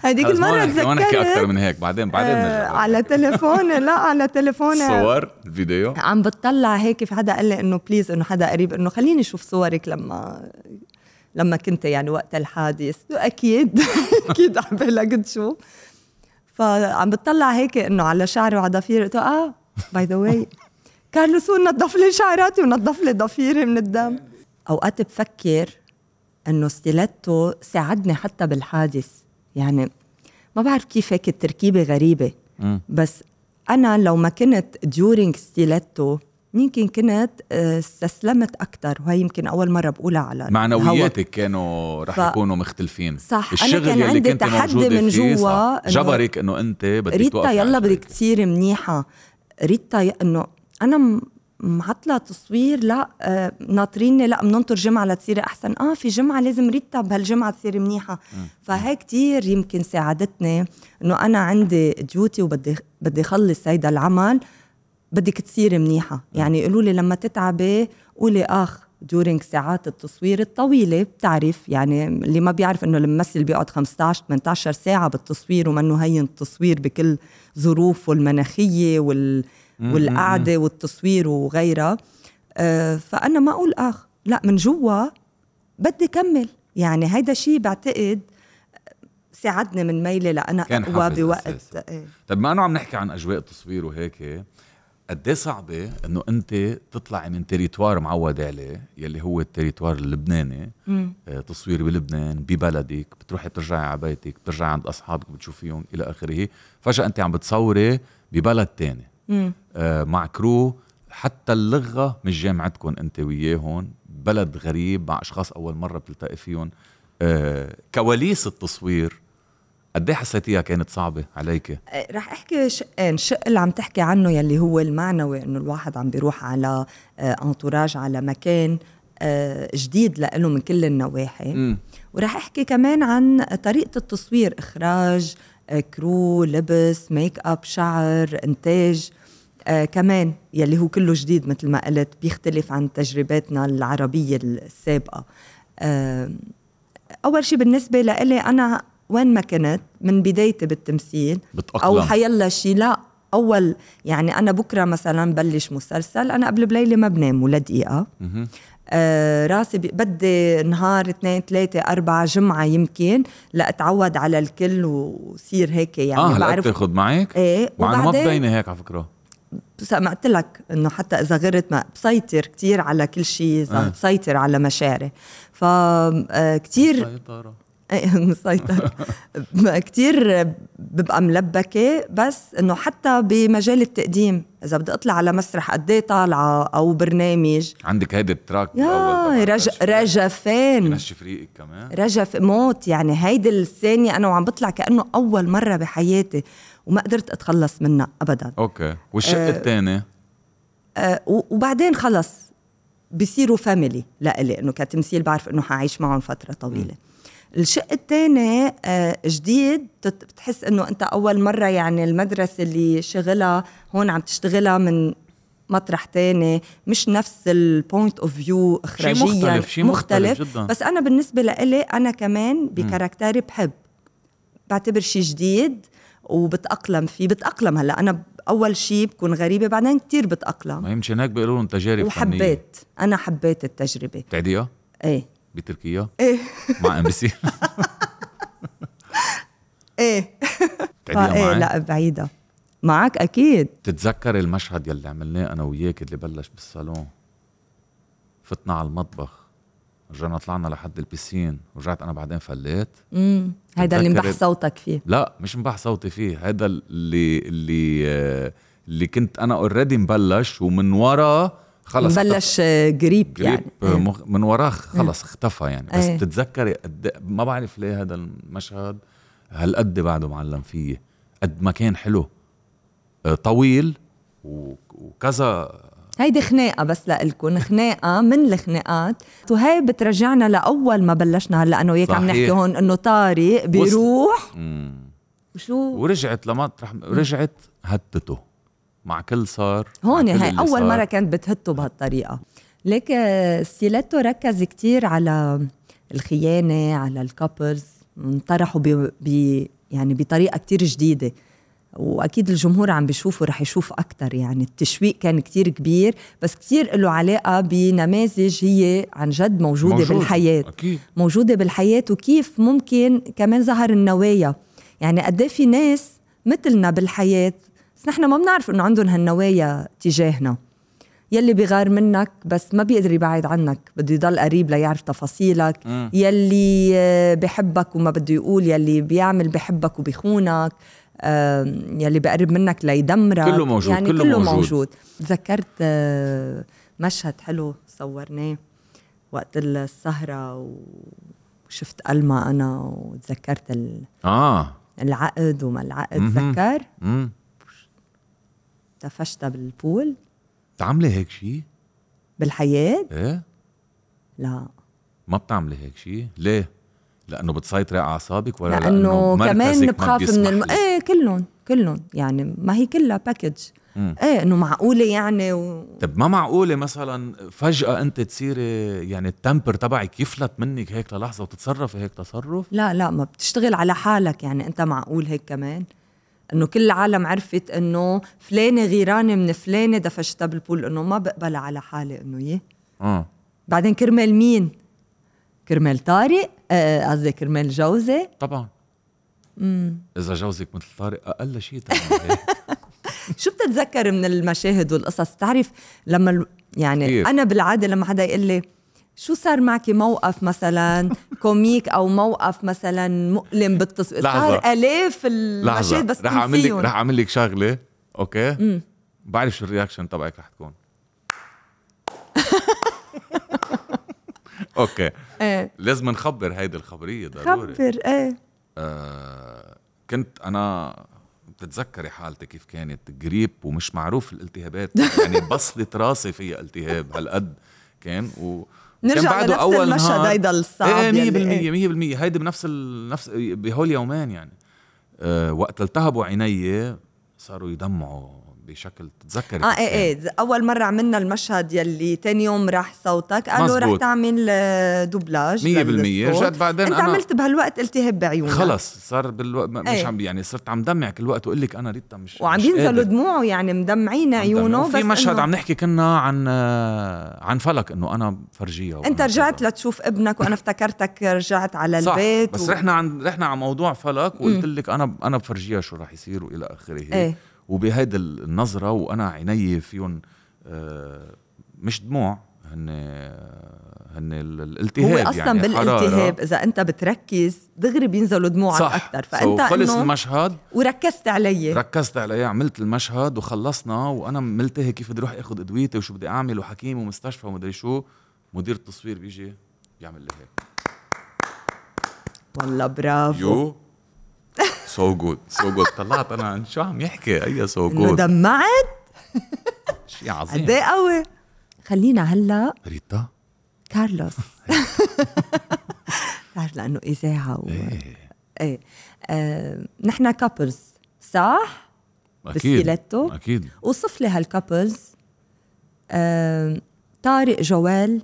C: هذيك
B: خلص، ما
C: المرة
B: نحكي- ما نحكي اكثر
C: تذكرت
B: من هيك بعدين بعدين
C: آه،
B: نرجع
C: على تليفوني لا على تليفوني
B: الصور الفيديو
C: عم بتطلع هيك في حدا قال لي انه بليز انه حدا قريب انه خليني اشوف صورك لما لما كنت يعني وقت الحادث اكيد اكيد على بالك تشوف فعم بتطلع هيك انه على شعري وعلى ضفيري قلت له، اه باي ذا واي كارلوس هو نظف لي شعراتي ونظف لي ضفيري من الدم اوقات بفكر انه ستيلاتو ساعدني حتى بالحادث يعني ما بعرف كيف هيك التركيبه غريبه
B: مم.
C: بس انا لو ما كنت ديورينج ستيلاتو يمكن كنت آه، استسلمت اكثر وهي يمكن اول مره بقولها على الهوا.
B: معنوياتك كانوا رح
C: ف-
B: يكونوا مختلفين
C: صح، أنا
B: الشغل
C: كان
B: يلي
C: عندي
B: كنت
C: تحدي
B: موجودة
C: من
B: فيه، صح.
C: جوا إنه-
B: جبرك انه انت بدك
C: ريتا
B: توقفي
C: يلا
B: على
C: بدك
B: شغلك.
C: تصيري منيحه ريتا ي- انه انا م- معطله تصوير لا آه، ناطريني لا بننطر جمعه لتصيري احسن اه في جمعه لازم ريتا بهالجمعه تصيري منيحه فهي كتير يمكن ساعدتني انه انا عندي ديوتي وبدي بدي خلص هيدا العمل بدك تصيري
B: نعم.
C: منيحه يعني يقولوا لي لما تتعبي قولي اخ دورينج ساعات التصوير الطويلة بتعرف يعني اللي ما بيعرف انه الممثل بيقعد 15 18 ساعة بالتصوير ومنه هين التصوير بكل ظروفه المناخية وال والقعدة والتصوير وغيرها آه، فأنا ما أقول أخ لا من جوا بدي كمل يعني هيدا شيء بعتقد ساعدني من ميلي لأنا
B: كان
C: أقوى
B: حافز
C: بوقت
B: أساسي.
C: إيه.
B: طب طيب، ما انه عم نحكي عن اجواء التصوير وهيك قد ايه صعبه انه انت تطلعي من تريتوار معود عليه يلي هو التريتوار اللبناني آه، تصوير بلبنان ببلدك بتروحي بترجعي على بيتك بترجعي عند اصحابك بتشوفيهم الى اخره فجاه انت عم بتصوري ببلد تاني آه، مع كرو حتى اللغه مش جامعتكم انت وياهم بلد غريب مع اشخاص اول مره بتلتقي فيهم آه، كواليس التصوير قد ايه حسيتيها كانت صعبه عليك
C: رح احكي شقين شق اللي عم تحكي عنه يلي هو المعنوي انه الواحد عم بيروح على آه، انتوراج على مكان آه، جديد لإله من كل النواحي
B: مم.
C: ورح احكي كمان عن طريقه التصوير اخراج آه، كرو لبس ميك اب شعر انتاج آه كمان يلي هو كله جديد مثل ما قلت بيختلف عن تجرباتنا العربيه السابقه آه اول شيء بالنسبه لإلي انا وين ما كنت من بدايتي بالتمثيل
B: بتأقلم
C: او حيلا شيء لا اول يعني انا بكره مثلا بلش مسلسل انا قبل بليله ما بنام ولا دقيقه
B: مهم.
C: آه راسي بي- بدي نهار اثنين ثلاثة أربعة جمعة يمكن لأتعود على الكل وصير هيك يعني
B: اه هلا بتاخذ معك
C: ايه
B: مع انه ما
C: وبعدين
B: بتبيني هيك على فكره
C: سمعت لك انه حتى اذا غرت ما بسيطر كتير على كل شيء
B: آه.
C: بسيطر على مشاعري ف آه، كتير
B: سيطرة.
C: إيه، مسيطر كتير ببقى ملبكة بس انه حتى بمجال التقديم اذا بدي اطلع على مسرح قد ايه طالعة او برنامج
B: عندك هيدي التراك
C: يا
B: الأول تبع
C: رج...
B: رجف.
C: رجفان
B: نشف ريقك كمان
C: رجف موت يعني هيدي الثانية انا وعم بطلع كأنه اول مرة بحياتي وما قدرت اتخلص منها ابدا
B: اوكي والشق الثاني
C: آه، و- وبعدين خلص بصيروا فاميلي لإلي انه كتمثيل بعرف انه حعيش معهم فتره طويله الشق الثاني آه، جديد بتت- بتحس انه انت اول مره يعني المدرسه اللي شغلها هون عم تشتغلها من مطرح تاني مش نفس البوينت اوف فيو اخراجيا
B: مختلف، شي مختلف جداً.
C: بس انا بالنسبه لإلي انا كمان بكاركتري بحب بعتبر شيء جديد وبتاقلم فيه بتاقلم هلا انا اول شيء بكون غريبه بعدين كتير بتاقلم
B: ما يمكن هيك بيقولوا لهم تجارب فنيه
C: وحبيت انا حبيت التجربه
B: بتعديها
C: ايه
B: بتركيا
C: ايه
B: مع ام بي سي
C: ايه
B: بتعديها معي
C: إيه، لا بعيده معك اكيد
B: بتتذكر المشهد يلي عملناه انا وياك اللي بلش بالصالون فتنا على المطبخ رجعنا طلعنا لحد البسين رجعت انا بعدين فليت
C: امم هيدا اللي
B: بتذكر
C: مبح صوتك فيه
B: لا مش مباح صوتي فيه هذا اللي اللي آه، اللي كنت انا اوريدي مبلش ومن ورا خلص
C: بلش آه، قريب
B: قريب
C: يعني
B: آه،
C: إيه.
B: مخ... من وراه خلص اختفى يعني بس
C: إيه.
B: بتتذكري قد ما بعرف ليه هذا المشهد هالقد بعده معلم فيي قد ما كان حلو آه، طويل و... وكذا
C: هيدي خناقه بس لإلكم خناقه من الخناقات وهي بترجعنا لاول ما بلشنا هلا انا وياك عم
B: صحيح.
C: نحكي هون انه طارق بيروح وشو
B: ورجعت لمطرح رجعت هتته مع كل صار
C: هون
B: مع كل
C: هاي
B: اللي
C: اول
B: صار.
C: مره كانت بتهته بهالطريقه ليك آه، سيلاتو ركز كتير على الخيانه على الكابلز انطرحوا ب... ب... يعني بطريقه كتير جديده واكيد الجمهور عم بيشوفه رح يشوف اكثر يعني التشويق كان كتير كبير بس كتير له علاقه بنماذج هي عن جد موجوده
B: موجود.
C: موجود. بالحياه
B: اكيد
C: موجودة بالحياة وكيف ممكن كمان ظهر النوايا يعني قد إيه في ناس مثلنا بالحياة بس نحن ما بنعرف إنه عندهم هالنوايا تجاهنا يلي بيغار منك بس ما بيقدر يبعد عنك بده يضل قريب ليعرف تفاصيلك
B: مم.
C: يلي آه، بحبك وما بده يقول يلي بيعمل بحبك وبيخونك آم، يلي بقرب منك ليدمرك
B: كله موجود،
C: يعني
B: كله
C: كله, كله
B: موجود.
C: موجود. موجود تذكرت آه، مشهد حلو صورناه وقت السهرة وشفت ألما أنا وتذكرت ال-
B: اه
C: العقد وما العقد
B: مهم.
C: تذكر
B: امم
C: تفشتها بالبول
B: بتعملي هيك شيء؟
C: بالحياة
B: ايه
C: لا
B: ما بتعملي هيك شيء؟ ليه؟ لانه بتسيطري على اعصابك ولا
C: لأنه
B: مركزك
C: كمان
B: ما
C: بخاف من
B: بيسمح
C: الم...
B: لك؟
C: ايه كلهم كلهم يعني ما هي كلها باكج
B: مم.
C: ايه انه معقولة يعني و...
B: طب طيب، ما معقولة مثلا فجأة أنت تصيري يعني التمبر تبعك يفلت منك هيك للحظة وتتصرفي هيك تصرف
C: لا لا ما بتشتغل على حالك يعني انت معقول هيك كمان انه كل العالم عرفت انه فلانه غيرانه من فلانه دفشتها بالبول انه ما بقبل على حالي انه يي
B: اه
C: بعدين كرمال مين كرمال طارق آه، قصدي كرمال جوزي
B: طبعا
C: مم.
B: إذا جوزك مثل طارق أقل إيه، شيء تعمل هيك
C: شو بتتذكر من المشاهد والقصص تعرف لما ال- يعني
B: كيف؟
C: كيف. انا بالعاده لما حدا يقول لي شو صار معك موقف مثلا كوميك او موقف مثلا مؤلم بالتصوير
B: لحظة.
C: صار
B: لحظة
C: الاف المشاهد بس
B: رح أعمل لك
C: تنسيهم.
B: رح أعمل لك شغلة أوكي مم. بعرف شو الرياكشن تبعك رح تكون أوكي
C: ايه
B: لازم نخبر هيدي الخبرية ضروري
C: خبر ايه
B: آه، كنت انا بتتذكري حالتي كيف كانت جريب ومش معروف الالتهابات يعني بصلة راسي فيها التهاب هالقد كان و وكان
C: نرجع
B: بعده
C: لنفس المشهد هيدا الصعب يلي- إيه.
B: ايه 100% 100% هيدي بنفس ال... نفس بهول يومين يعني أه وقت التهبوا عيني صاروا يدمعوا بشكل تتذكري
C: اه
B: كيف
C: ايه
B: كان.
C: ايه ز- اول مره عملنا المشهد يلي تاني يوم راح صوتك قالوا
B: مزبوط.
C: رح تعمل آه، دوبلاج
B: مية بالمية.
C: للصوت.
B: رجعت بعدين
C: انت
B: أنا-
C: عملت بهالوقت التهاب بعيونك
B: خلص صار بالوقت مش
C: إيه.
B: عم يعني صرت عم دمع كل وقت واقول لك انا ريتا مش
C: وعم
B: مش قادر.
C: ينزلوا دموعه يعني مدمعين عيونه
B: في مشهد
C: إنه
B: عم نحكي كنا عن آه، عن فلك انه انا فرجيه وأنا
C: انت
B: كذا.
C: رجعت لتشوف ابنك وانا افتكرتك رجعت على
B: صح
C: البيت
B: بس رحنا عن رحنا على موضوع فلك وقلت لك انا انا بفرجيها شو راح يصير والى اخره
C: إيه.
B: وبهيدي النظره وانا عيني فيهم آه، مش دموع هن هن ال- الالتهاب
C: هو
B: يعني
C: اصلا يعني
B: حرارة.
C: بالالتهاب اذا انت بتركز دغري بينزلوا دموعك
B: صح
C: اكثر
B: فانت
C: فانت
B: خلص
C: انه
B: المشهد
C: وركزت علي
B: ركزت عليه عملت المشهد وخلصنا وانا ملتهي كيف بدي اروح اخذ ادويتي وشو بدي اعمل وحكيم ومستشفى ومدري شو مدير التصوير بيجي بيعمل لي هيك
C: والله برافو
B: يو سو جود سو جود طلعت انا عن شو عم يحكي اي سو
C: انه
B: جود
C: دمعت
B: شيء عظيم
C: قد ايه قوي خلينا هلا
B: ريتا
C: كارلوس بتعرف لانه اذاعه و...
B: إيه،
C: ايه آه، نحن كابلز صح؟
B: اكيد
C: بالسيليتو؟
B: اكيد
C: وصف لي هالكابلز آه، طارق جوال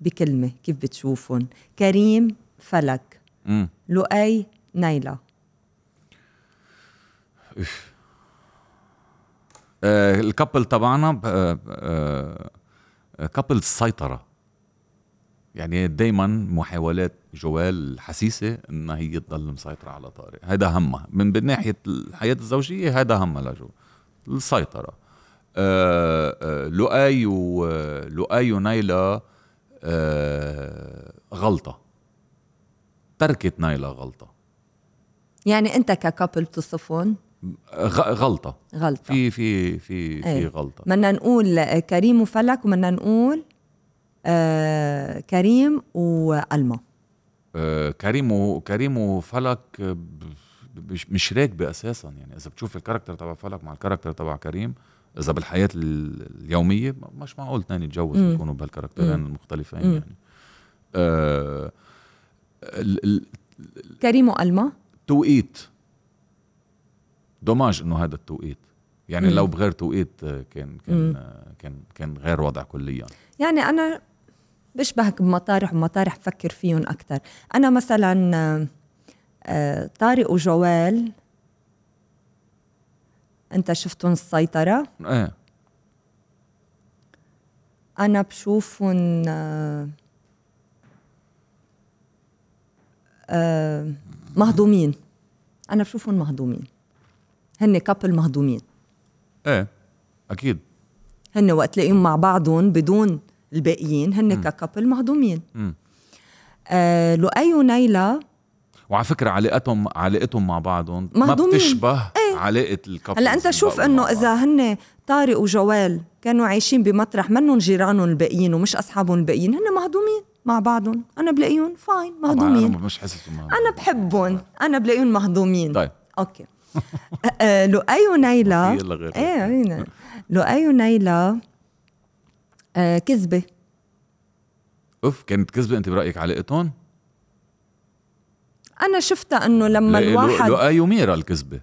C: بكلمه كيف بتشوفهم كريم فلك
B: امم
C: لؤي نيلة
B: آه الكابل تبعنا آه آه كابل السيطرة يعني دايما محاولات جوال حسيسة انها هي تضل مسيطرة على طارق هذا همها من ناحية الحياة الزوجية هذا همها لجو السيطرة آه آه لؤي ولؤي ونيلة آه غلطة تركت نيلة غلطة
C: يعني انت ككابل بتصفهم
B: غ- غلطة
C: غلطه
B: في في في في
C: إيه.
B: غلطة
C: بدنا نقول آه، كريم وفلك وبدنا نقول آه كريم والما
B: آه، كريم وكريم وفلك آه، ب- ب- مش مش راكبه اساسا يعني اذا بتشوف الكاركتر تبع فلك مع الكاركتر تبع كريم اذا بالحياه ال- اليوميه م- مش معقول تنين يتجوز
C: مم.
B: يكونوا بهالكاركترين
C: مم.
B: المختلفين
C: مم.
B: يعني آه ال- ال-
C: كريم وألما
B: توقيت دوماج انه هذا التوقيت يعني
C: مم.
B: لو بغير توقيت آه، كان كان
C: مم.
B: آه، كان كان غير وضع كليا
C: يعني أنا بشبهك بمطارح ومطارح بفكر فيهم أكثر أنا مثلا آه، آه، طارق وجوال أنت شفتهم السيطرة
B: ايه
C: أنا بشوفهم آه، آه، مهضومين أنا بشوفهم مهضومين هن كابل مهضومين
B: ايه اكيد
C: هن وقت تلاقيهم مع بعضهم بدون الباقيين هن ككابل مهضومين
B: مم.
C: آه لؤي ونيلا
B: وعلى فكره علاقتهم علاقتهم مع بعضهم ما
C: مهضومين. إيه.
B: بتشبه ايه؟ علاقه الكابل
C: هلا انت شوف
B: آه.
C: انه اذا هن طارق وجوال كانوا عايشين بمطرح منهم جيرانهم الباقيين ومش اصحابهم الباقيين هن مهضومين مع بعضهم انا بلاقيهم فاين مهضومين
B: انا مش حاسس إنه
C: انا بحبهم انا بلاقيهم مهضومين
B: طيب
C: اوكي آه، آه، لؤي ونيلا
B: ما في إلا غير هيك.
C: ايه مين لؤي ونيلا آه كذبه
B: اوف كانت كذبه انت برايك علاقتهم؟
C: انا شفتها انه لما
B: لو- لو-
C: الواحد
B: لؤي وميرا الكذبه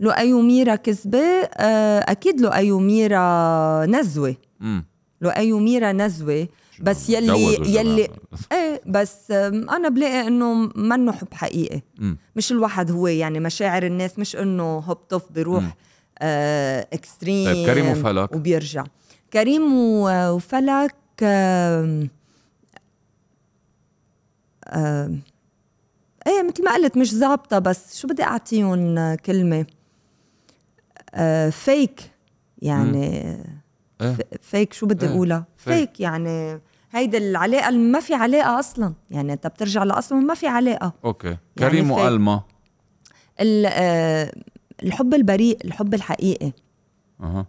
C: لؤي وميرا كذبة آه، أكيد لؤي وميرا نزوة
B: امم
C: لؤي وميرا نزوة بس يلي
B: تجوزوا
C: يلي
B: جماعة.
C: ايه بس آم، انا بلاقي انه منه حب حقيقي
B: مم.
C: مش الواحد هو يعني مشاعر الناس مش انه هوب توب بيروح
B: مم.
C: آه اكستريم
B: طيب، كريم وفلك.
C: وبيرجع كريم و- وفلك آم، آم، ايه مثل ما قلت مش ظابطه بس شو بدي اعطيهم آه، كلمه آه فيك يعني
B: إيه.
C: ف- فيك شو بدي
B: إيه،
C: اقولها
B: fake.
C: فيك يعني هيدي العلاقه اللي ما في علاقه اصلا يعني انت بترجع لاصلهم ما في علاقه
B: اوكي كريم
C: يعني fake.
B: والما
C: ال- آه، الحب البريء الحب الحقيقي
B: اها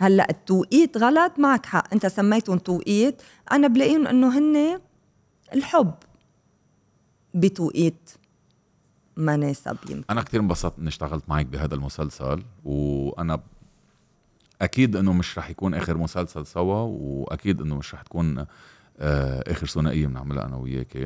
C: هلا التوقيت غلط معك حق انت سميتهم توقيت انا بلاقيهم انه هن الحب بتوقيت مناسب يمكن
B: انا كثير انبسطت اني اشتغلت معك بهذا المسلسل وانا ب- اكيد انه مش رح يكون اخر مسلسل سوا واكيد انه مش رح تكون آه، اخر ثنائيه بنعملها انا وياك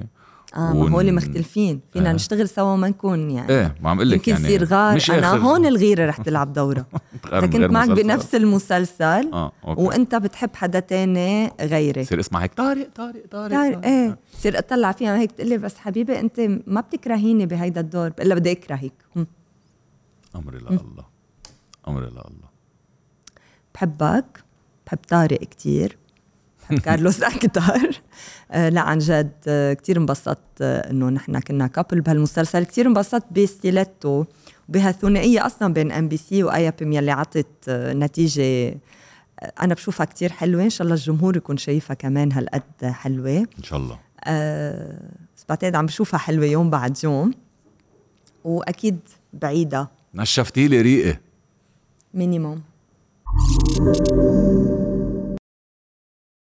C: اه ما
B: ون-
C: هول مختلفين فينا
B: آه.
C: نشتغل سوا ما نكون يعني
B: ايه ما عم اقول لك
C: يمكن
B: يعني
C: يصير غار
B: مش
C: انا
B: آخر-
C: هون الغيره رح تلعب دورها
B: غير-
C: اذا
B: غير
C: كنت معك
B: مسلسل.
C: بنفس المسلسل
B: اه اوكي
C: وانت بتحب حدا تاني غيري
B: بصير اسمع هيك طارق طارق طارق
C: بتعرف- ايه بصير اطلع فيها هيك تقول لي بس حبيبي انت ما بتكرهيني بهيدا الدور بقول لها بدي اكرهك هم،
B: امري لله امري لله
C: بحبك بحب طارق كتير بحب كارلوس اكتر آه لا عن جد آه كتير انبسطت آه انه نحن كنا كابل بهالمسلسل كتير انبسطت بستيلاتو وبهالثنائيه اصلا بين ام بي سي وايابيم يلي عطت آه نتيجه آه انا بشوفها كتير حلوه ان شاء الله الجمهور يكون شايفها كمان هالقد حلوه
B: ان شاء الله
C: آه، بعتقد عم بشوفها حلوه يوم بعد يوم واكيد بعيده
B: نشفتي لي ريقي
C: مينيموم